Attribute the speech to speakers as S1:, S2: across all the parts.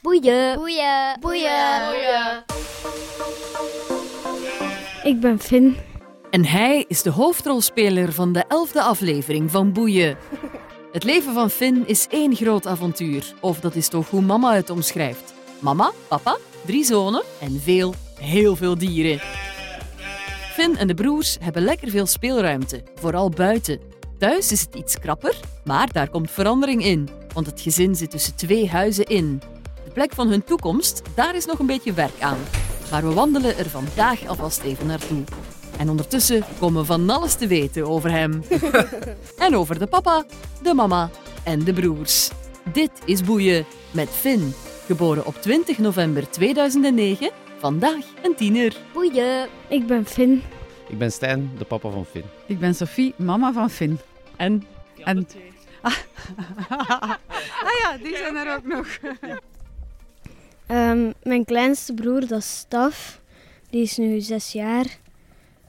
S1: Boeien.
S2: Boeien.
S1: Ik ben Finn.
S3: En hij is de hoofdrolspeler van de elfde aflevering van Boeien. Het leven van Finn is één groot avontuur. Of dat is toch hoe mama het omschrijft. Mama, papa, drie zonen en veel, heel veel dieren. Finn en de broers hebben lekker veel speelruimte, vooral buiten. Thuis is het iets krapper, maar daar komt verandering in. Want het gezin zit tussen twee huizen in. De plek van hun toekomst, daar is nog een beetje werk aan. Maar we wandelen er vandaag alvast even naartoe. En ondertussen komen we van alles te weten over hem. en over de papa, de mama en de broers. Dit is Boeien met Finn, geboren op 20 november 2009, vandaag een tiener.
S1: Boeien. Ik ben Finn.
S4: Ik ben Stijn, de papa van Finn.
S5: Ik ben Sophie, mama van Finn.
S3: En
S5: En... ah ja, die zijn er ook nog.
S1: Ehm, mijn kleinste broer, dat is Staf. Die is nu zes jaar.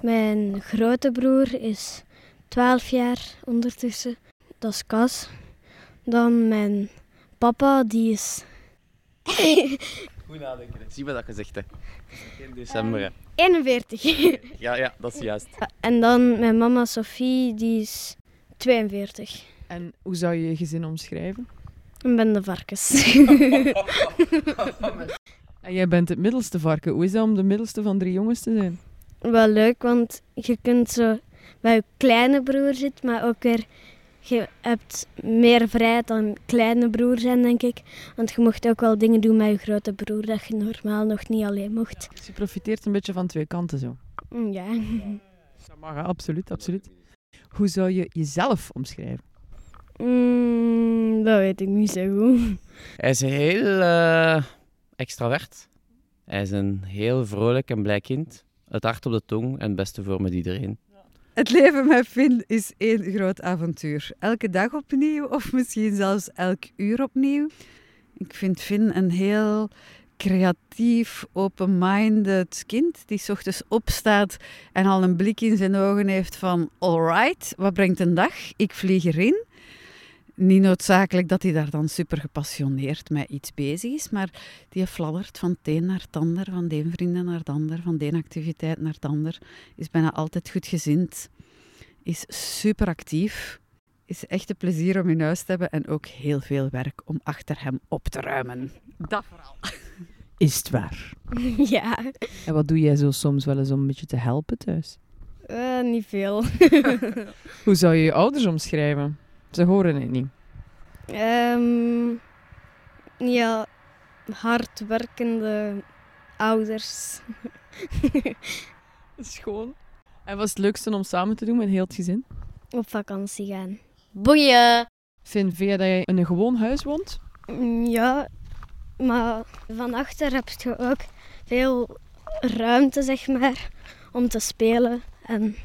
S1: Mijn grote broer is twaalf jaar ondertussen. Dat is Cas. Dan mijn papa, die is
S4: Goed nadenken. Zie wat dat gezegd hè. In december. hè.
S1: 41.
S4: Ja, ja, dat is juist.
S1: en dan mijn mama Sophie, die is 42.
S3: En hoe zou je je gezin omschrijven?
S1: En ben de varkens.
S3: En jij bent het middelste varken. Hoe is dat om de middelste van drie jongens te zijn?
S1: wel leuk, want je kunt zo bij je kleine broer zitten, maar ook weer, je hebt meer vrijheid dan je kleine broer zijn, denk ik. Want je mocht ook wel dingen doen met je grote broer dat je normaal nog niet alleen mocht.
S3: Dus je profiteert een beetje van twee kanten zo.
S1: Mm, Ja.
S3: Dat mag, hè? absoluut, absoluut. Hoe zou je jezelf omschrijven?
S1: Mm, dat weet ik niet zo goed.
S4: Hij is heel eh, extravert. Hij is een heel vrolijk en blij kind. Het hart op de tong en het beste voor met iedereen.
S5: Het leven met Finn is één groot avontuur. Elke dag opnieuw of misschien zelfs elk uur opnieuw. Ik vind Finn een heel creatief, open-minded kind die 's ochtends opstaat en al een blik in zijn ogen heeft van alright, wat brengt een dag? Ik vlieg erin. Niet noodzakelijk dat hij daar dan super gepassioneerd mee iets bezig is, maar die fladdert van het een naar het ander, van de een vrienden naar het ander, van de een activiteit naar het ander is bijna altijd goed gezind, is super actief, is echt een plezier om in huis te hebben en ook heel veel werk om achter hem op te ruimen. Dat vooral.
S3: Is het waar?
S1: ja,
S3: En wat doe jij zo soms wel eens om een beetje te helpen thuis?
S1: Eh, niet veel.
S3: Hoe zou je je ouders omschrijven? Ze horen het niet.
S1: Ehm, ja, hardwerkende ouders.
S3: Schoon. En wat is het leukste om samen te doen met heel het gezin?
S1: Op vakantie gaan.
S2: Boeien.
S3: Vind vind je dat je in een gewoon huis woont?
S1: Mm, Ja, maar van achter heb je ook veel ruimte, zeg maar, om te spelen en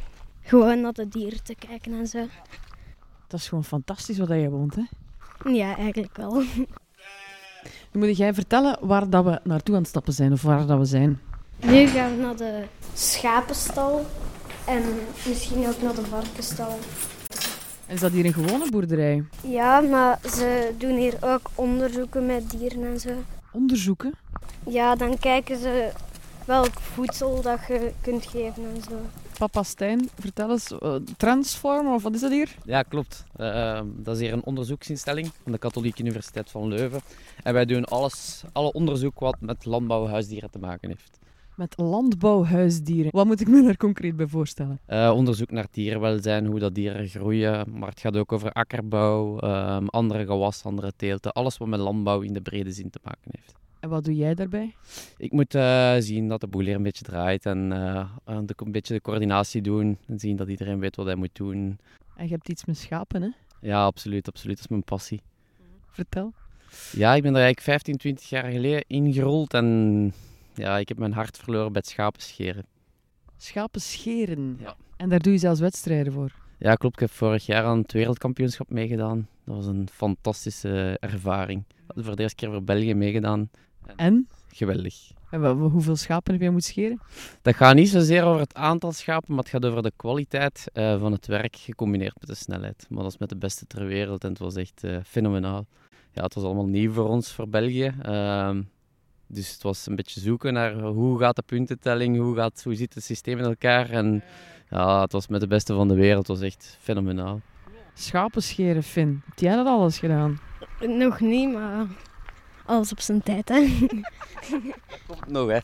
S1: gewoon naar de dieren te kijken en zo.
S3: Dat is gewoon fantastisch waar jij woont, hè?
S1: Ja, eigenlijk wel.
S3: Nu moet jij vertellen waar dat we naartoe aan het stappen zijn of waar dat we zijn.
S1: Nu gaan we naar de schapenstal en misschien ook naar de varkenstal.
S3: Is dat hier een gewone boerderij?
S1: Ja, maar ze doen hier ook onderzoeken met dieren en zo.
S3: Onderzoeken?
S1: Ja, dan kijken ze welk voedsel dat je kunt geven en zo.
S3: Papa Stijn, vertel eens, eh, Transformer of wat is dat hier?
S4: Ja, klopt. Eh, dat is hier een onderzoeksinstelling van de Katholieke Universiteit van Leuven. En wij doen alles, alle onderzoek wat met landbouw en huisdieren te maken heeft.
S3: Met landbouwhuisdieren. Wat moet ik me daar concreet bij voorstellen?
S4: Eh, onderzoek naar dierenwelzijn, hoe dat dieren groeien. Maar het gaat ook over akkerbouw, ehm, andere gewassen, andere teelten. Alles wat met landbouw in de brede zin te maken heeft.
S3: En wat doe jij daarbij?
S4: Ik moet eh, zien dat de boel hier een beetje draait en eh, en de- een beetje de coördinatie doen. En zien dat iedereen weet wat hij moet doen.
S3: En je hebt iets met schapen, hè?
S4: Ja, absoluut, absoluut. Dat is mijn passie.
S3: Vertel.
S4: Ja, ik ben er eigenlijk 15, 20 jaar geleden ingerold. En ja, ik heb mijn hart verloren bij het schapen scheren.
S3: Schapen scheren.
S4: Ja.
S3: En daar doe je zelfs wedstrijden voor.
S4: Ja, klopt. Ik heb vorig jaar aan het wereldkampioenschap meegedaan. Dat was een fantastische ervaring. Ik had voor de eerste keer voor België meegedaan.
S3: En?
S4: Geweldig.
S3: en wa- wa- hoeveel schapen heb jij moeten scheren?
S4: Dat gaat niet zozeer over het aantal schapen, maar het gaat over de kwaliteit eh, van het werk gecombineerd met de snelheid. Maar dat is met de beste ter wereld en het was echt eh, fenomenaal. Ja, het was allemaal nieuw voor ons, voor België. Ehm, Dus het was een beetje zoeken naar hoe gaat de puntentelling, hoe, gaat, hoe zit het systeem in elkaar. En ja, het was met de beste van de wereld, het was echt fenomenaal.
S3: Schapen scheren, Finn. Heb jij dat alles gedaan?
S1: Nog niet, maar alles op zijn tijd. Hè?
S4: Komt nog, hè?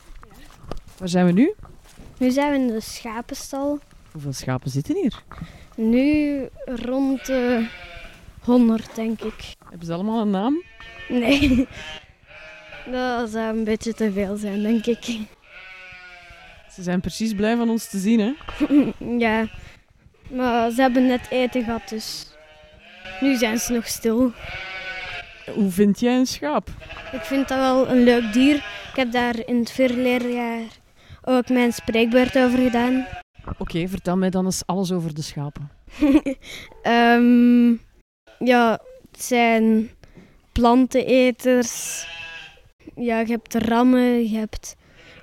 S3: Waar zijn we nu?
S1: Nu zijn we in de schapenstal.
S3: Hoeveel schapen zitten hier?
S1: Nu rond de 100, denk ik.
S3: Hebben ze allemaal een naam?
S1: Nee, dat zou een beetje te veel zijn, denk ik.
S3: Ze zijn precies blij van ons te zien, hè?
S1: Ja, maar ze hebben net eten gehad, dus nu zijn ze nog stil.
S3: Hoe vind jij een schaap?
S1: Ik vind dat wel een leuk dier. Ik heb daar in het vierde leerjaar ook mijn spreekbeurt over gedaan.
S3: Oké, vertel mij dan eens alles over de schapen.
S1: Ehm, ja, het zijn planteneters. Ja, je hebt rammen, je hebt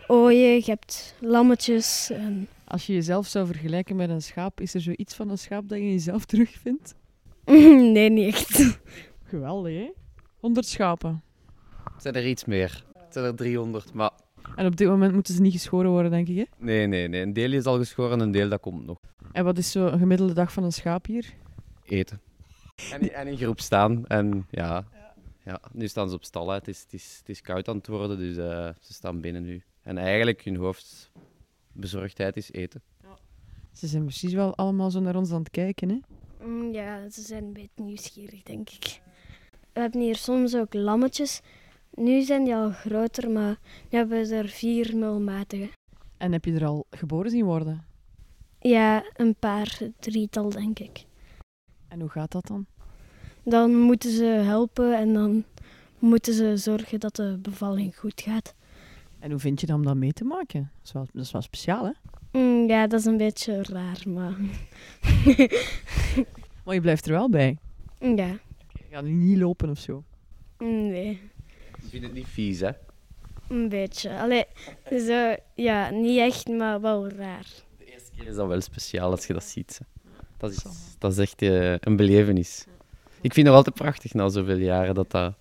S1: ooien, je hebt lammetjes. En...
S3: Als je jezelf zou vergelijken met een schaap, is er zoiets van een schaap dat je in jezelf terugvindt?
S1: Nee, niet echt.
S3: Geweldig, hè? 100 schapen.
S4: zijn er iets meer. Het zijn er 300, maar
S3: En op dit moment moeten ze niet geschoren worden, denk ik, hè?
S4: nee, nee, nee. Een deel is al geschoren, een deel dat komt nog.
S3: En wat is zo een gemiddelde dag van een schaap hier?
S4: Eten. En, en in groep staan. En ja, ja nu staan ze op stal. hè. Het is, het, is, het is koud aan het worden, dus eh, ze staan binnen nu. En eigenlijk hun hoofdbezorgdheid is eten.
S3: Ze zijn precies wel allemaal zo naar ons aan het kijken, hè?
S1: Mm, Ja, ze zijn een beetje nieuwsgierig, denk ik. We hebben hier soms ook lammetjes. Nu zijn die al groter, maar nu hebben we er vier mulmatige.
S3: En heb je er al geboren zien worden?
S1: Ja, een paar, drietal denk ik.
S3: En hoe gaat dat dan?
S1: Dan moeten ze helpen en dan moeten ze zorgen dat de bevalling goed gaat.
S3: En hoe vind je dan om dat mee te maken? Dat is wel, dat is wel speciaal, hè?
S1: Mm, Ja, dat is een beetje raar, maar
S3: Maar je blijft er wel bij.
S1: mm, ja, mm,
S3: Je gaat nu niet lopen of zo.
S1: nee,
S4: Ik vind het niet vies, hè?
S1: een beetje. Allee, zo, ja, niet echt, maar wel raar.
S4: De eerste keer is dat wel speciaal als je dat ziet. hè. Dat is, dat is echt eh, een belevenis. Ik vind het altijd prachtig na zoveel jaren dat dat.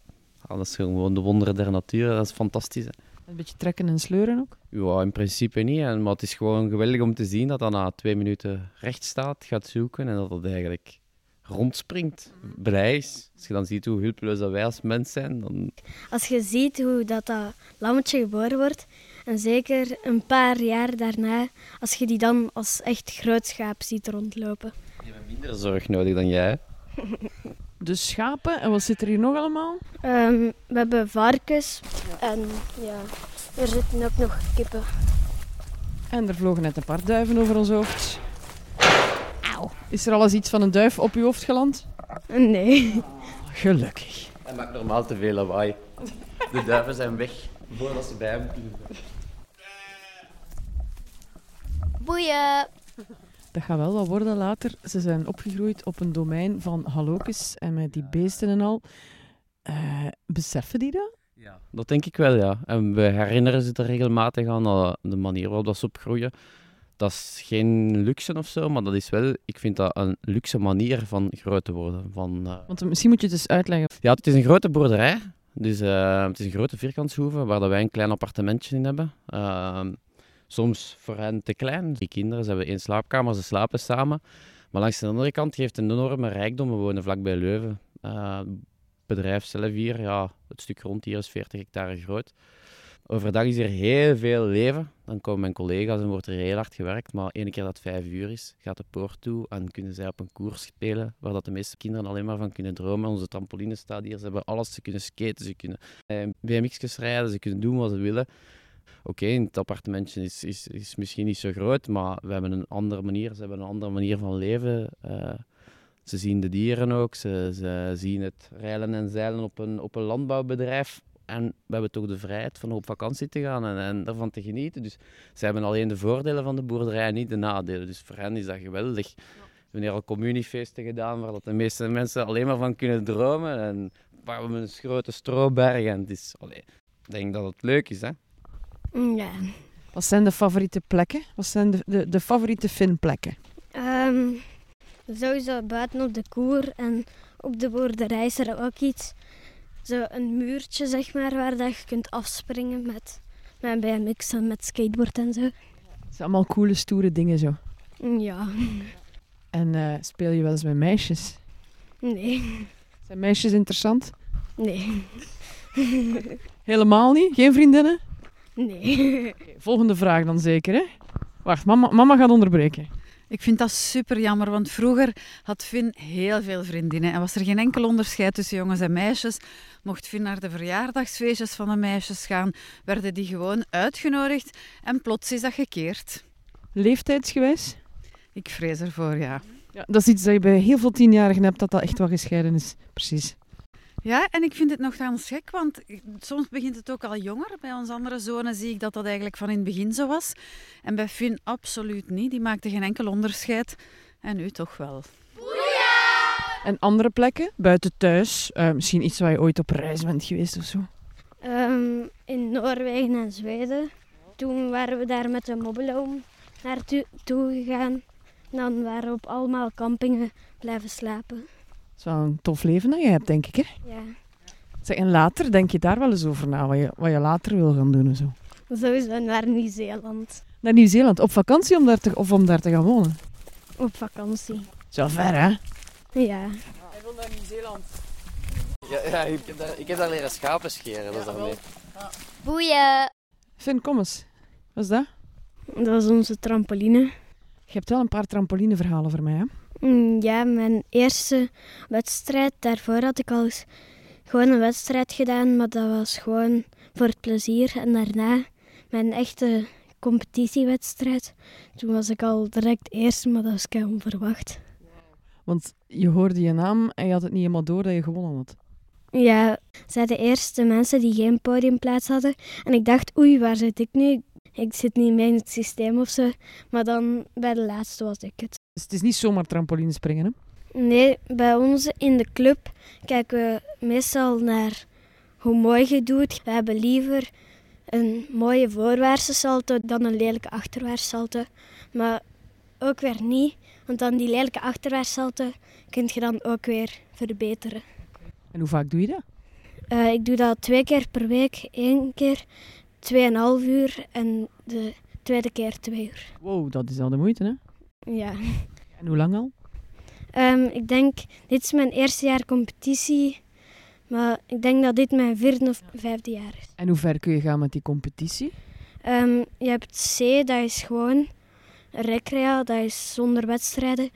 S4: ja, dat is gewoon de wonderen der natuur, dat is fantastisch. hè.
S3: Een beetje trekken en sleuren ook.
S4: Ja, in principe niet. En, maar het is gewoon geweldig om te zien dat dat na twee minuten recht staat, gaat zoeken en dat dat eigenlijk rondspringt, blij is. Als je dan ziet hoe hulpeloos dat wij als mens zijn, dan...
S1: Als je ziet hoe dat, dat lammetje geboren wordt, en zeker een paar jaar daarna, als je die dan als echt groot schaap ziet rondlopen.
S4: Je hebt minder zorg nodig dan jij. hè.
S3: Dus schapen, en wat zit er hier nog allemaal?
S1: Ehm, we hebben varkens en ja, er zitten ook nog kippen.
S3: En er vlogen net een paar duiven over ons hoofd. Auw. Is er al eens iets van een duif op uw hoofd geland?
S1: Nee.
S3: Gelukkig.
S4: Hij maakt normaal te veel lawaai. De duiven zijn weg voordat ze bij hem kunnen.
S6: Boeien.
S3: Dat gaat wel wat worden later. Ze zijn opgegroeid op een domein van halokes en met die beesten en al. Eh, beseffen die dat?
S4: Ja. Dat denk ik wel, ja. En we herinneren ze er regelmatig aan, eh, de manier waarop dat ze opgroeien. Dat is geen luxe of zo, maar dat is wel, ik vind dat een luxe manier van groot te worden. Van, eh,
S3: Want misschien moet je het eens uitleggen.
S4: Ja, het is een grote boerderij. Dus eh, het is een grote vierkantshoeve waar dat wij een klein appartementje in hebben. Ehm, soms voor hen te klein. Die kinderen, ze hebben één slaapkamer, ze slapen samen. Maar langs de andere kant geeft het een enorme rijkdom. We wonen vlakbij Leuven. Eh, Het bedrijf zelf hier, ja, het stuk grond hier is 40 hectare groot. Overdag is er heel veel leven. Dan komen mijn collega's en wordt er heel hard gewerkt. Maar ene keer dat het vijf uur is, gaat de poort toe en kunnen zij op een koers spelen waar dat de meeste kinderen alleen maar van kunnen dromen. Onze trampoline staat hier, ze hebben alles. Ze kunnen skaten, ze kunnen eh, BMX'jes rijden, ze kunnen doen wat ze willen. Oké, in het appartementje is, is, is misschien niet zo groot, maar we hebben een andere manier. Ze hebben een andere manier van leven. Eh, ze zien de dieren ook, ze, ze zien het reilen en zeilen op een, op een landbouwbedrijf. En we hebben toch de vrijheid van op vakantie te gaan en, en ervan te genieten. Dus ze hebben alleen de voordelen van de boerderij en niet de nadelen. Dus voor hen is dat geweldig. We hebben hier al communiefeesten gedaan waar dat de meeste mensen alleen maar van kunnen dromen. En waar we hebben een grote stroberg en het is... allee, ik denk dat het leuk is, hè?
S1: Mm, Ja.
S3: Wat zijn de favoriete plekken? Wat zijn de, de, de favoriete finplekken?
S1: Ehm, sowieso buiten op de koer en op de boerderij is er ook iets. zo een muurtje, zeg maar, waar dat je kunt afspringen met mijn BMX en met skateboard en zo.
S3: Het zijn allemaal coole, stoere dingen zo.
S1: Ja,
S3: En eh, speel je wel eens met meisjes?
S1: nee,
S3: Zijn meisjes interessant?
S1: nee,
S3: Helemaal niet? Geen vriendinnen?
S1: nee.
S3: Oké, volgende vraag dan zeker, hè? Wacht, mama, mama gaat onderbreken.
S5: Ik vind dat super jammer, want vroeger had Finn heel veel vriendinnen en was er geen enkel onderscheid tussen jongens en meisjes. Mocht Finn naar de verjaardagsfeestjes van de meisjes gaan, werden die gewoon uitgenodigd en plots is dat gekeerd.
S3: Leeftijdsgewijs?
S5: Ik vrees ervoor, ja.
S3: Ja, dat is iets dat je bij heel veel tienjarigen hebt, dat dat echt wel gescheiden is. Precies.
S5: Ja, en ik vind het nogthans gek, want soms begint het ook al jonger. Bij onze andere zonen zie ik dat dat eigenlijk van in het begin zo was. En bij Finn absoluut niet. Die maakte geen enkel onderscheid. En nu toch wel.
S3: En andere plekken? Buiten thuis? Eh, misschien iets waar je ooit op reis bent geweest of zo?
S1: Ehm, in Noorwegen en Zweden. Toen waren we daar met de mobbeloom naartoe toe gegaan. Dan waren we op allemaal kampingen blijven slapen.
S3: Het is wel een tof leven dat je hebt, denk ik, hè?
S1: Ja,
S3: Zeg, en later denk je daar wel eens over na, wat je, wat je later wil gaan doen en zo.
S1: sowieso naar Nieuw-Zeeland
S3: Naar Nieuw-Zeeland, op vakantie om daar te, of om daar te gaan wonen?
S1: op vakantie.
S3: Zo ver, hè?
S1: Ja,
S4: Ja, ja ik, heb daar, ik heb daar leren schapen scheren. Dat is daarmee.
S6: Boeien.
S3: Finn, kom eens. Wat is dat?
S1: dat is onze trampoline.
S3: Je hebt wel een paar trampolineverhalen voor mij, hè?
S1: Mm, Ja, mijn eerste wedstrijd, daarvoor had ik al eens gewoon een wedstrijd gedaan, maar dat was gewoon voor het plezier. En daarna mijn echte competitiewedstrijd, toen was ik al direct eerste, maar dat was kei onverwacht.
S3: Want je hoorde je naam en je had het niet helemaal door dat je gewonnen had.
S1: Ja, zij de eerste mensen die geen podiumplaats hadden. En ik dacht, oei, waar zit ik nu? Ik zit niet mee in het systeem of zo. Maar dan bij de laatste was ik het.
S3: Dus het is niet zomaar trampolinespringen, hè?
S1: Nee, bij ons in de club kijken we meestal naar hoe mooi je doet. We hebben liever een mooie voorwaartse salto dan een lelijke achterwaartse salto. Maar ook weer niet, want dan die lelijke achterwaartse salto kun je dan ook weer verbeteren.
S3: En hoe vaak doe je dat?
S1: Eh, ik doe dat twee keer per week. Eén keer 2,5 uur en de tweede keer twee uur.
S3: Wow, dat is al de moeite, hè?
S1: Ja.
S3: En hoe lang al?
S1: Ehm, ik denk, dit is mijn eerste jaar competitie. Maar ik denk dat dit mijn vierde of vijfde jaar is.
S3: En hoe ver kun je gaan met die competitie?
S1: Ehm, je hebt C, dat is gewoon recrea, dat is zonder wedstrijden.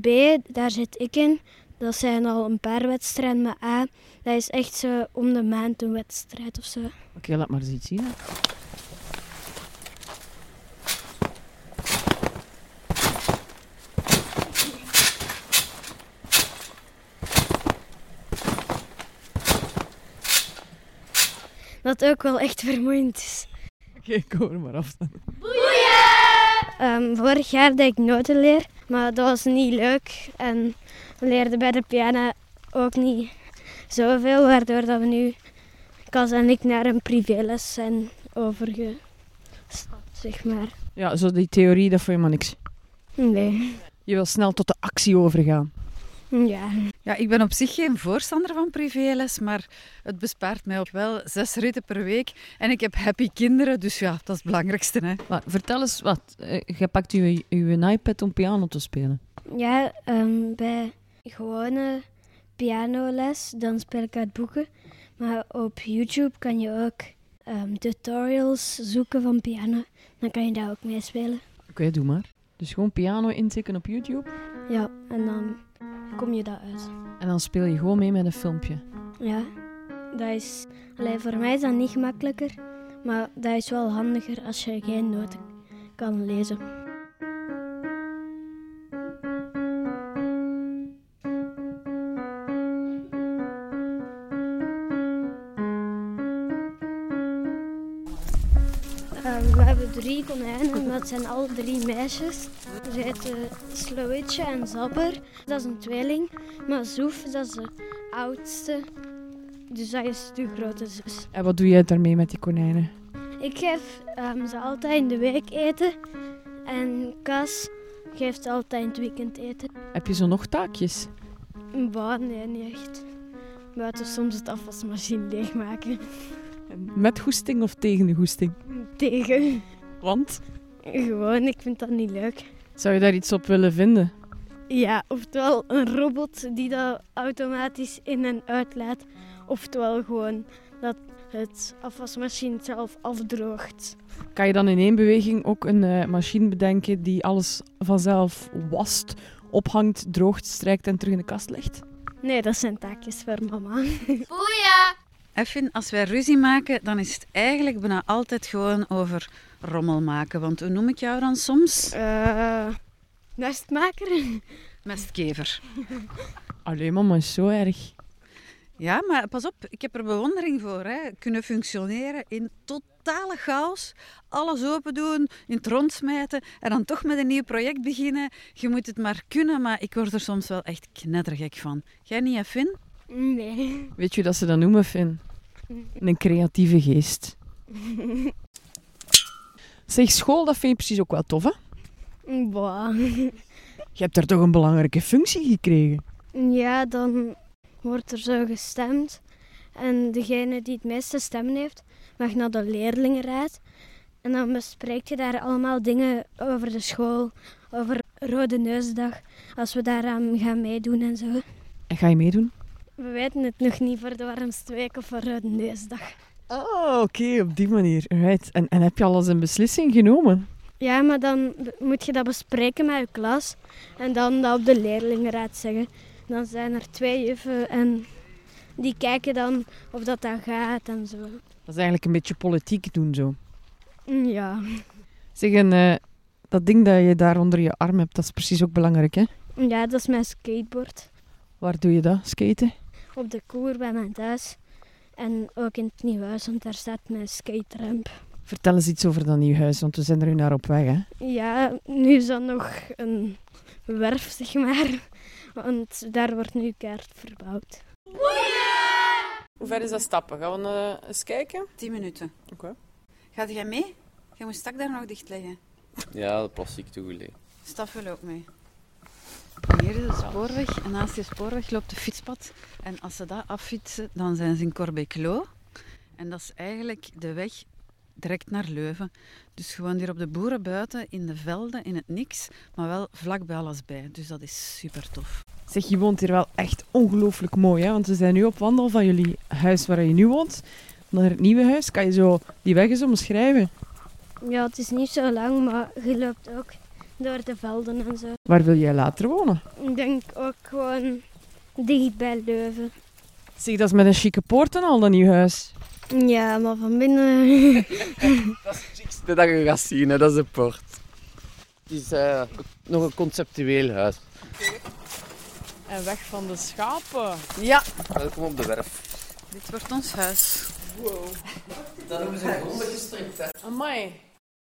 S1: B, daar zit ik in. Dat zijn al een paar wedstrijden. Maar A, dat is echt zo om de maand een wedstrijd of zo.
S3: Oké, laat maar eens iets zien. hè.
S1: Dat ook wel echt vermoeiend is.
S3: Oké, ik hoor maar af.
S1: Ehm, vorig jaar deed ik notenleer, maar dat was niet leuk. En we leerden bij de piano ook niet zoveel, waardoor dat we nu, Cas en ik, naar een privéles zijn overgestapt, zeg maar.
S3: Ja, zo die theorie, dat vond je maar niks.
S1: Nee,
S3: Je wil snel tot de actie overgaan.
S1: ja.
S5: Ja, ik ben op zich geen voorstander van privéles, maar het bespaart mij ook wel zes ritten per week. En ik heb happy kinderen, dus ja, dat is het belangrijkste. Hè.
S3: Maar vertel eens wat. Eh, Je pakt je, je iPad om piano te spelen.
S1: Ja, ehm, bij gewone pianoles, dan speel ik uit boeken. Maar op YouTube kan je ook ehm, tutorials zoeken van piano. Dan kan je daar ook mee spelen.
S3: Oké, doe maar. Dus gewoon piano intikken op YouTube.
S1: Ja, en dan kom je daar uit.
S3: En dan speel je gewoon mee met een filmpje.
S1: Ja, dat is. Allee, voor mij is dat niet gemakkelijker, maar dat is wel handiger als je geen noten kan lezen. Ehm, We hebben drie konijnen, maar het zijn alle drie meisjes. Ze heten Slowitje en Zabber, dat is een tweeling. Maar Zoef, dat is de oudste. Dus dat is de grote zus.
S3: En wat doe jij daarmee met die konijnen?
S1: Ik geef ehm, ze altijd in de week eten. En Cas geeft altijd in het weekend eten.
S3: Heb je zo nog taakjes?
S1: Bah, nee, niet echt. buiten soms het afwasmachine leegmaken.
S3: Met goesting of tegen de goesting?
S1: Tegen.
S3: Want?
S1: Gewoon, ik vind dat niet leuk.
S3: Zou je daar iets op willen vinden?
S1: Ja, oftewel een robot die dat automatisch in en uitlaat. Oftewel gewoon dat het afwasmachine het zelf afdroogt.
S3: Kan je dan in één beweging ook een eh, machine bedenken die alles vanzelf wast, ophangt, droogt, strijkt en terug in de kast legt?
S1: Nee, dat zijn taakjes voor mama.
S6: Boeien!
S5: Effin, als wij ruzie maken, dan is het eigenlijk bijna altijd gewoon over rommel maken. Want hoe noem ik jou dan soms?
S1: Eh nestmaker?
S5: Mestkever.
S3: Allee mama, is zo erg.
S5: Ja, maar pas op, ik heb er bewondering voor. Hè. Kunnen functioneren in totale chaos. Alles open doen, in het rond smijten en dan toch met een nieuw project beginnen. Je moet het maar kunnen, maar ik word er soms wel echt knettergek van. Jij niet, Effin?
S1: Nee.
S3: Weet je hoe dat ze dat noemen, Finn? Een creatieve geest. Zeg, school, dat vind je precies ook wel tof, hè?
S1: Boah.
S3: Je hebt daar toch een belangrijke functie gekregen?
S1: Ja, dan wordt er zo gestemd. En degene die het meeste stemmen heeft, mag naar de leerlingenraad. En dan bespreek je daar allemaal dingen over de school, over Rode Neusdag, als we daaraan gaan meedoen en zo.
S3: En ga je meedoen?
S1: We weten het nog niet voor de warmste week of voor Rode Neusdag.
S3: Oh, oké, op die manier. Right. En, en heb je al eens een beslissing genomen?
S1: Ja, maar dan be- moet je dat bespreken met je klas en dan dat op de leerlingenraad zeggen. Dan zijn er twee juffen en die kijken dan of dat dan gaat en zo.
S3: Dat is eigenlijk een beetje politiek doen, zo.
S1: Ja,
S3: Zeg, en, eh, dat ding dat je daar onder je arm hebt, dat is precies ook belangrijk, hè?
S1: ja, dat is mijn skateboard.
S3: Waar doe je dat? Skaten?
S1: Op de koer bij mijn thuis. En ook in het nieuwe huis, want daar staat mijn skateramp.
S3: Vertel eens iets over dat nieuw huis, want we zijn er nu naar op weg, hè?
S1: Ja, nu is dat nog een werf, zeg maar. Want daar wordt nu kaart verbouwd.
S3: Hoe ver is dat stappen? Gaan we eh, eens kijken?
S5: Tien minuten.
S3: Oké.
S5: Gaat jij mee? Jij moet stak daar nog dicht leggen.
S4: Ja, dat plastic toegelegd.
S5: Staf wil ook mee. Hier is de spoorweg en naast de spoorweg loopt de fietspad. En als ze dat affietsen, dan zijn ze in Corbeclo. En dat is eigenlijk de weg direct naar Leuven. Dus gewoon hier op de boeren buiten, in de velden, in het niks, maar wel vlak bij alles bij. Dus dat is super tof.
S3: Zeg, je woont hier wel echt ongelooflijk mooi, hè? Want we zijn nu op wandel van jullie huis waar je nu woont naar het nieuwe huis. Kan je zo die weg eens omschrijven?
S1: Ja, het is niet zo lang, maar je loopt ook door de velden en zo.
S3: Waar wil jij later wonen?
S1: Ik denk ook gewoon dicht bij Leuven.
S3: Zeg, dat is met een chique poort en al, dat nieuw huis.
S1: Ja, maar van binnen...
S4: Dat is het chicste dat je gaat zien, hè. dat is de poort. Het is eh, nog een conceptueel huis.
S3: En weg van de schapen.
S5: Ja,
S4: Welkom op de werf.
S5: dit wordt ons huis.
S4: Dat noemen ze honden gestrikt, hè.
S3: Amai.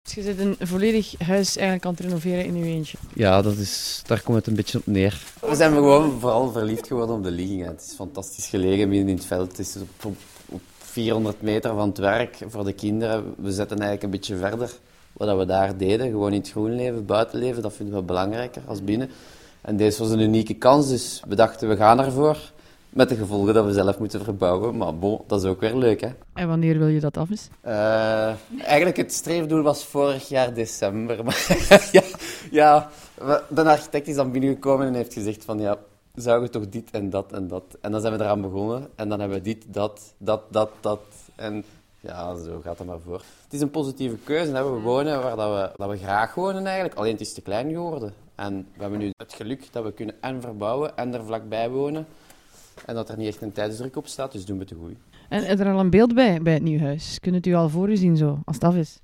S3: Dus je zit een volledig huis eigenlijk aan het renoveren in je eentje.
S4: Ja, dat is, daar komt het een beetje op neer. We zijn gewoon vooral verliefd geworden op de ligging. hè. Het is fantastisch gelegen midden in het veld. Het is op, op, op 400 meter van het werk voor de kinderen. We zetten eigenlijk een beetje verder wat dat we daar deden. Gewoon in het groen leven, buitenleven. Dat vinden we belangrijker als binnen. En deze was een unieke kans, dus we dachten we gaan ervoor. Met de gevolgen dat we zelf moeten verbouwen. Maar bon, dat is ook weer leuk, hè.
S3: En wanneer wil je dat af is?
S4: Eh, eigenlijk het streefdoel was vorig jaar december. Maar ja, ja, we- de architect is dan binnengekomen en heeft gezegd van ja, zouden we toch dit en dat en dat. En dan zijn we eraan begonnen en dan hebben we dit, dat, dat, dat, dat. En ja, zo gaat het maar voor. Het is een positieve keuze. Hè? We wonen waar dat we, dat we graag wonen eigenlijk, alleen het is te klein geworden. En we hebben nu het geluk dat we kunnen en verbouwen en er vlakbij wonen. En dat er niet echt een tijdsdruk op staat, dus doen we te goed.
S3: En is er al een beeld bij, bij het nieuw huis? Kunnen het u al voor u zien zo, als het af is?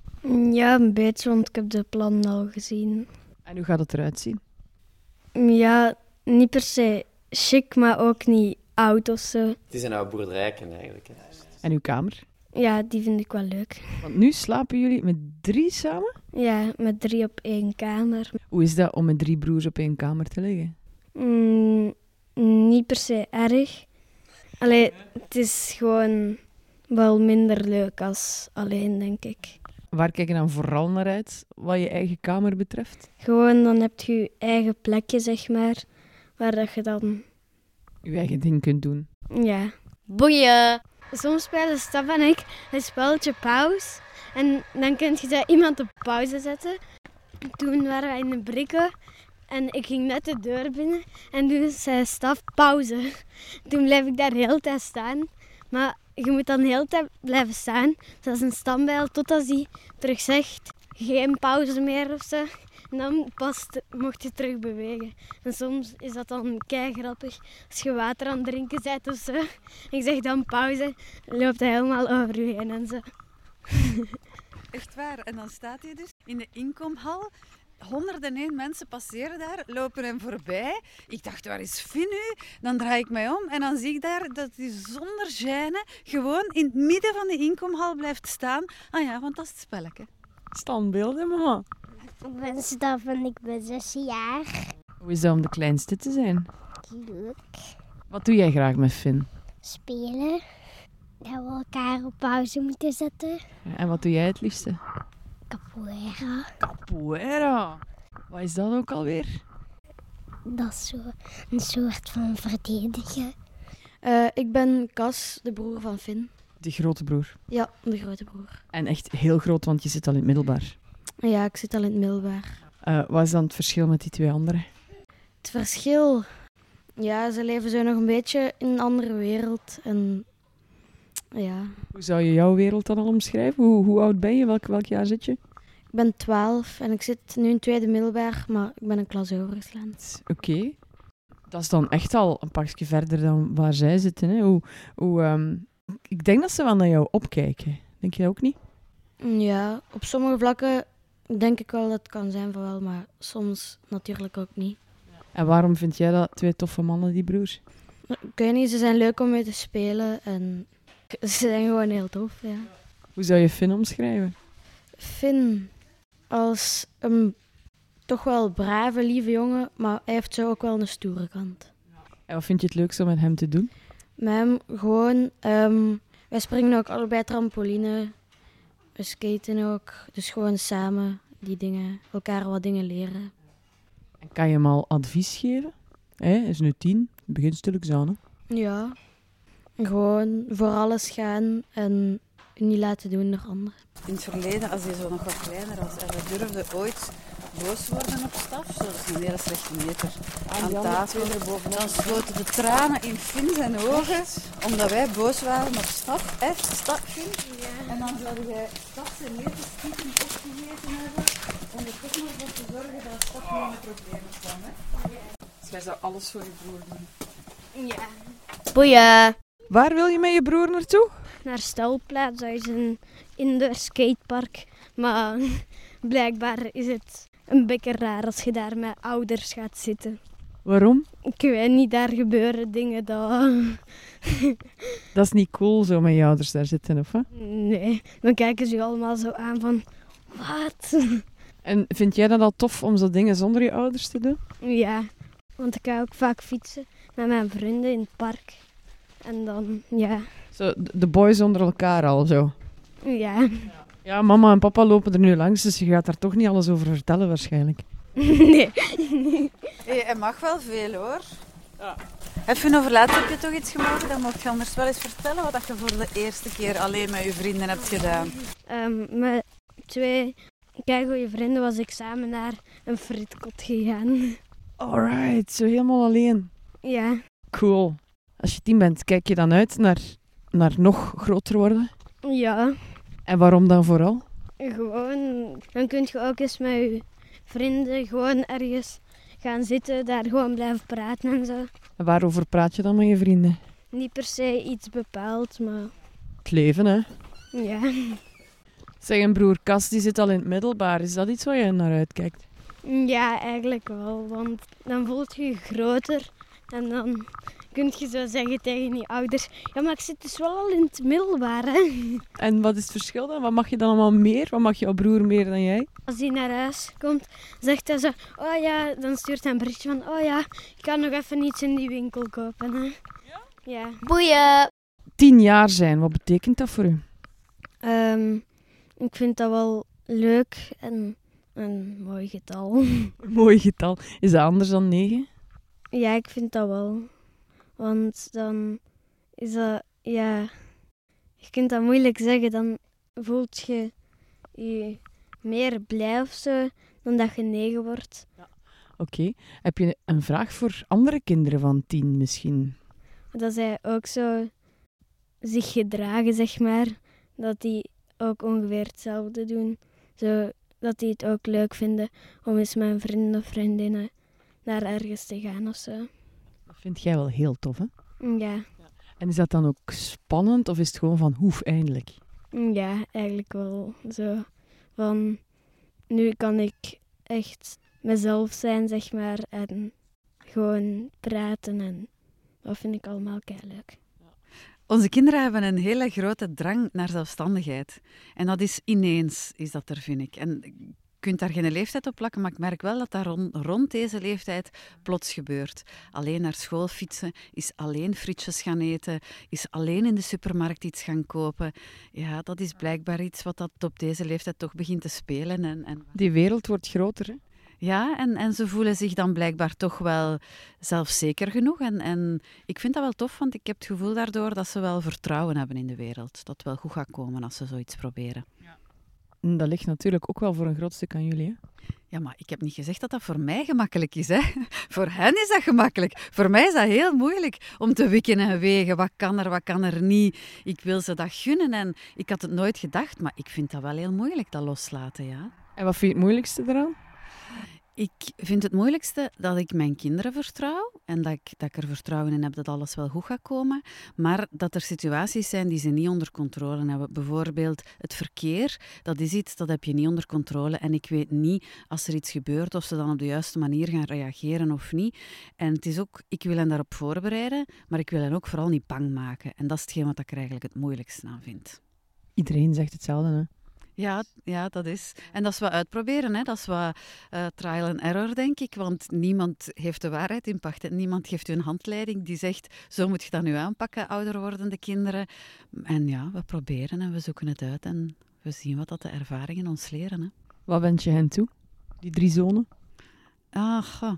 S1: Ja, een beetje, want ik heb de plannen al gezien.
S3: En hoe gaat het eruit zien?
S1: Ja, niet per se chic, maar ook niet oud of zo.
S4: Het is een oude boerderijken eigenlijk. Hè?
S3: En uw kamer?
S1: Ja, die vind ik wel leuk.
S3: Want nu slapen jullie met drie samen?
S1: Ja, met drie op één kamer.
S3: Hoe is dat om met drie broers op één kamer te liggen?
S1: Mm, niet per se erg. Allee, het is gewoon wel minder leuk als alleen, denk ik.
S3: Waar kijk je dan vooral naar uit, wat je eigen kamer betreft?
S1: Gewoon, dan heb je je eigen plekje, zeg maar, waar dat je dan...
S3: Je eigen ding kunt doen.
S1: Ja,
S6: Boeien.
S1: Soms spelen Stef en ik een spelletje pauze. En dan kun je zo iemand op pauze zetten. Toen waren wij in de brikken. En ik ging net de deur binnen. En toen zei Staf pauze. Toen bleef ik daar heel de tijd staan. Maar je moet dan heel de tijd blijven staan. Dus dat is een standbijl. Totdat hij terug zegt geen pauze meer of zo. En dan pas t- mocht je terug bewegen. En soms is dat dan kei grappig. Als je water aan het drinken bent of zo. Ik zeg dan pauze, loopt hij helemaal over u heen en zo.
S5: Echt waar. En dan staat hij dus in de inkomhal. 101 mensen passeren daar, lopen hem voorbij. Ik dacht, waar is Finn nu? Dan draai ik mij om en dan zie ik daar dat hij zonder gêne gewoon in het midden van de inkomhal blijft staan. Ah ja, want dat is het spelletje.
S3: Standbeelden, mama.
S7: Ik ben Staf en ik ben zes jaar.
S3: Hoe is dat om de kleinste te zijn?
S7: Leuk.
S3: Wat doe jij graag met Finn?
S7: Spelen. Dat we elkaar op pauze moeten zetten.
S3: En wat doe jij het liefste?
S7: Capoeira.
S3: Capoeira. Wat is dat ook alweer?
S7: Dat is zo een soort van verdedigen.
S1: Eh, ik ben Cas, de broer van Finn.
S3: De grote broer.
S1: Ja, de grote broer.
S3: En echt heel groot, want je zit al in het middelbaar.
S1: Ja, ik zit al in het middelbaar.
S3: Eh, wat is dan het verschil met die twee anderen?
S1: Het verschil. Ja, ze leven zo nog een beetje in een andere wereld. En ja,
S3: Hoe zou je jouw wereld dan al omschrijven? Hoe, hoe oud ben je? Welk, welk jaar zit je?
S1: ik ben 12 en ik zit nu in tweede middelbaar, maar ik ben een klas overgeslaan.
S3: Oké. Dat is dan echt al een pakje verder dan waar zij zitten. Hè? Hoe, hoe, ehm, ik denk dat ze wel naar jou opkijken. Denk je dat ook niet?
S1: Ja, op sommige vlakken denk ik wel dat het kan zijn van wel, maar soms natuurlijk ook niet.
S3: En waarom vind jij dat twee toffe mannen, die broers?
S1: Ik weet niet, ze zijn leuk om mee te spelen en ze zijn gewoon heel tof, ja.
S3: Hoe zou je Finn omschrijven?
S1: Finn als een toch wel brave, lieve jongen, maar hij heeft zo ook wel een stoere kant.
S3: En wat vind je het leukste om met hem te doen?
S1: Met hem gewoon, ehm, wij springen ook allebei trampoline, we skaten ook, dus gewoon samen die dingen, elkaar wat dingen leren.
S3: En kan je hem al advies geven? Hij is nu tien, begint stilletjes aan. hè?
S1: Ja, gewoon voor alles gaan en je niet laten doen door anderen.
S5: In het verleden, als hij zo nog wat kleiner was en we durfden ooit boos worden op staf, zo, dat is een hele slechte meter. Aan tafel, dan sloten de tranen in Finn zijn ogen, omdat wij boos waren op staf. Echt, staf, Finn? En dan zouden jij staf zijn meter stiekem opgegeten hebben, om er toch nog voor te zorgen dat staf niet in de problemen kwam. Hè? Dus jij zou alles voor je broer doen.
S6: Boeien.
S3: Waar wil je met je broer naartoe?
S1: naar stelplaats. Dat is een indoor skatepark. Maar blijkbaar is het een beetje raar als je daar met ouders gaat zitten.
S3: Waarom?
S1: Ik weet niet, daar gebeuren dingen dat...
S3: Dat is niet cool zo met je ouders daar zitten, of wat?
S1: Nee, dan kijken ze je allemaal zo aan van... Wat?
S3: En vind jij dat al tof om zo dingen zonder je ouders te doen?
S1: Ja, want ik ga ook vaak fietsen met mijn vrienden in het park. En dan, ja,
S3: Zo, d- de boys onder elkaar al zo.
S1: ja,
S3: Ja, mama en papa lopen er nu langs, dus je gaat daar toch niet alles over vertellen waarschijnlijk.
S1: nee.
S5: Hé, hij mag wel veel hoor. Ja. Even over laatst heb je toch iets gemogen? Dan mocht je anders wel eens vertellen wat dat je voor de eerste keer alleen met je vrienden hebt gedaan.
S1: Ehm, met twee goede vrienden was ik samen naar een frietkot gegaan.
S3: Alright, zo helemaal alleen.
S1: Ja,
S3: Cool. Als je tien bent, kijk je dan uit naar, naar nog groter worden?
S1: ja,
S3: En waarom dan vooral?
S1: gewoon. Dan kun je ook eens met je vrienden gewoon ergens gaan zitten, daar gewoon blijven praten en zo.
S3: En waarover praat je dan met je vrienden?
S1: Niet per se iets bepaald, maar
S3: Het leven, hè?
S1: ja.
S3: Zeg, een broer Cas, die zit al in het middelbaar. Is dat iets waar je naar uitkijkt?
S1: Ja, eigenlijk wel, want dan voelt je je groter en dan kun je zo zeggen tegen je ouders: Ja, maar ik zit dus wel al in het middelbaar, hè.
S3: En wat is het verschil dan? Wat mag je dan allemaal meer? Wat mag jouw broer meer dan jij?
S1: Als hij naar huis komt, zegt hij zo, oh ja, dan stuurt hij een berichtje van, oh ja, ik kan nog even iets in die winkel kopen. Hè. Ja.
S6: Boeien.
S3: Tien jaar zijn, wat betekent dat voor u?
S1: Ehm, ik vind dat wel leuk en een mooi getal.
S3: Een mooi getal. Is dat anders dan negen?
S1: Ja, ik vind dat wel. Want dan is dat Ja, je kunt dat moeilijk zeggen. Dan voelt je je meer blij of zo dan dat je negen wordt.
S3: Oké. Heb je een vraag voor andere kinderen van tien misschien?
S1: Dat zij ook zo zich gedragen, zeg maar. Dat die ook ongeveer hetzelfde doen. Zo, dat die het ook leuk vinden om eens met een vriend of vriendinnen naar ergens te gaan of zo.
S3: Dat vind jij wel heel tof, hè?
S1: Ja,
S3: En is dat dan ook spannend of is het gewoon van hoef eindelijk?
S1: ja eigenlijk wel zo. Van nu kan ik echt mezelf zijn, zeg maar. En gewoon praten en dat vind ik allemaal keihard leuk.
S5: Onze kinderen hebben een hele grote drang naar zelfstandigheid. En dat is ineens, is dat er, vind ik. En je kunt daar geen leeftijd op plakken, maar ik merk wel dat dat rond, rond deze leeftijd plots gebeurt. Alleen naar school fietsen, is alleen frietjes gaan eten, is alleen in de supermarkt iets gaan kopen. Ja, dat is blijkbaar iets wat dat op deze leeftijd toch begint te spelen. En, en...
S3: Die wereld wordt groter, hè?
S5: Ja, en, en ze voelen zich dan blijkbaar toch wel zelfzeker genoeg. En, en ik vind dat wel tof, want ik heb het gevoel daardoor dat ze wel vertrouwen hebben in de wereld. Dat het wel goed gaat komen als ze zoiets proberen.
S3: En Dat ligt natuurlijk ook wel voor een groot stuk aan jullie, hè?
S5: Ja, maar ik heb niet gezegd dat dat voor mij gemakkelijk is. Hè? Voor hen is dat gemakkelijk. Voor mij is dat heel moeilijk om te wikken en wegen. Wat kan er, wat kan er niet? Ik wil ze dat gunnen en ik had het nooit gedacht, maar ik vind dat wel heel moeilijk, dat loslaten, ja.
S3: En wat vind je het moeilijkste eraan?
S5: Ik vind het moeilijkste dat ik mijn kinderen vertrouw en dat ik, dat ik er vertrouwen in heb dat alles wel goed gaat komen, maar dat er situaties zijn die ze niet onder controle hebben. Bijvoorbeeld het verkeer, dat is iets dat heb je niet onder controle en ik weet niet als er iets gebeurt of ze dan op de juiste manier gaan reageren of niet. En het is ook, ik wil hen daarop voorbereiden, maar ik wil hen ook vooral niet bang maken. En dat is hetgeen wat ik er eigenlijk het moeilijkste aan vind.
S3: Iedereen zegt hetzelfde, hè?
S5: Ja, ja, dat is. En dat is wat uitproberen, hè. dat is wat eh, trial and error, denk ik. Want niemand heeft de waarheid in pacht. hè. Niemand geeft u een handleiding die zegt, zo moet je dat nu aanpakken, ouder wordende kinderen. En ja, we proberen en we zoeken het uit en we zien wat dat de ervaringen ons leren. Hè.
S3: Wat wens je hen toe? Die drie zonen?
S5: Ah, goh.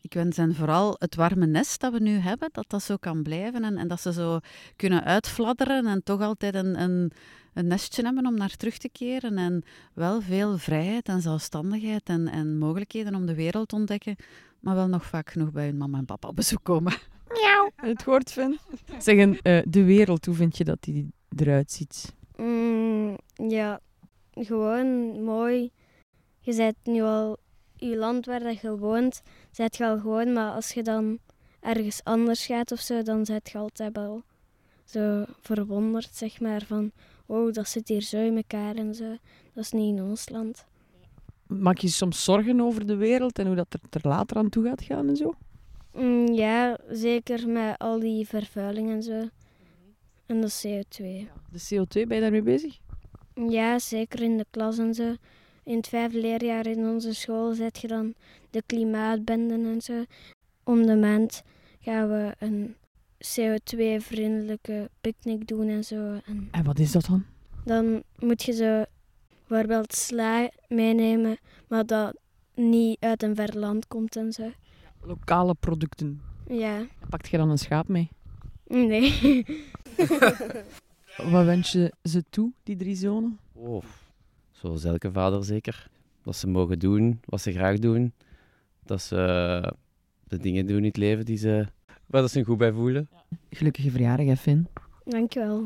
S5: ik wens hen vooral het warme nest dat we nu hebben, dat dat zo kan blijven en, en dat ze zo kunnen uitfladderen en toch altijd een, een, een nestje hebben om naar terug te keren. En wel veel vrijheid en zelfstandigheid en, en mogelijkheden om de wereld te ontdekken, maar wel nog vaak genoeg bij hun mama en papa op bezoek komen.
S3: Het woord, Finn. Zeggen, eh, de wereld, hoe vind je dat die eruit ziet?
S1: Mm, ja, gewoon mooi. Je bent nu al je land waar dat je woont, zijt je al gewoon, maar als je dan ergens anders gaat of zo, dan zijt je altijd wel zo verwonderd, zeg maar, van wow, dat zit hier zo in elkaar en zo. Dat is niet in ons land.
S3: Maak je je soms zorgen over de wereld en hoe dat er, er later aan toe gaat gaan en zo?
S1: Mm, ja, zeker met al die vervuiling en zo. En de CO2.
S3: De CO2, ben je daarmee bezig?
S1: Ja, zeker in de klas en zo. In het vijfde leerjaar in onze school zet je dan de klimaatbenden en zo. Om de maand gaan we een CO2-vriendelijke picknick doen en zo. En
S3: En wat is dat dan?
S1: dan moet je zo bijvoorbeeld sla meenemen, maar dat niet uit een ver land komt en zo.
S3: Lokale producten.
S1: Ja,
S3: Pakt je dan een schaap mee?
S1: nee.
S3: Wat wens je ze toe, die drie zonen?
S4: Oh, zoals elke vader zeker. Dat ze mogen doen wat ze graag doen. Dat ze eh, de dingen doen in het leven die ze, waar dat ze zich goed bij voelen.
S3: Gelukkige verjaardag, hè, Finn.
S1: Dankjewel.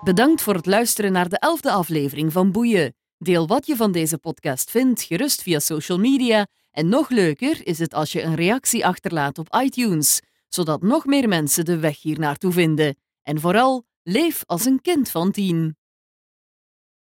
S8: Bedankt voor het luisteren naar de elfde aflevering van Boeien. Deel wat je van deze podcast vindt gerust via social media. En nog leuker is het als je een reactie achterlaat op iTunes, zodat nog meer mensen de weg hier naartoe vinden. En vooral, leef als een kind van tien.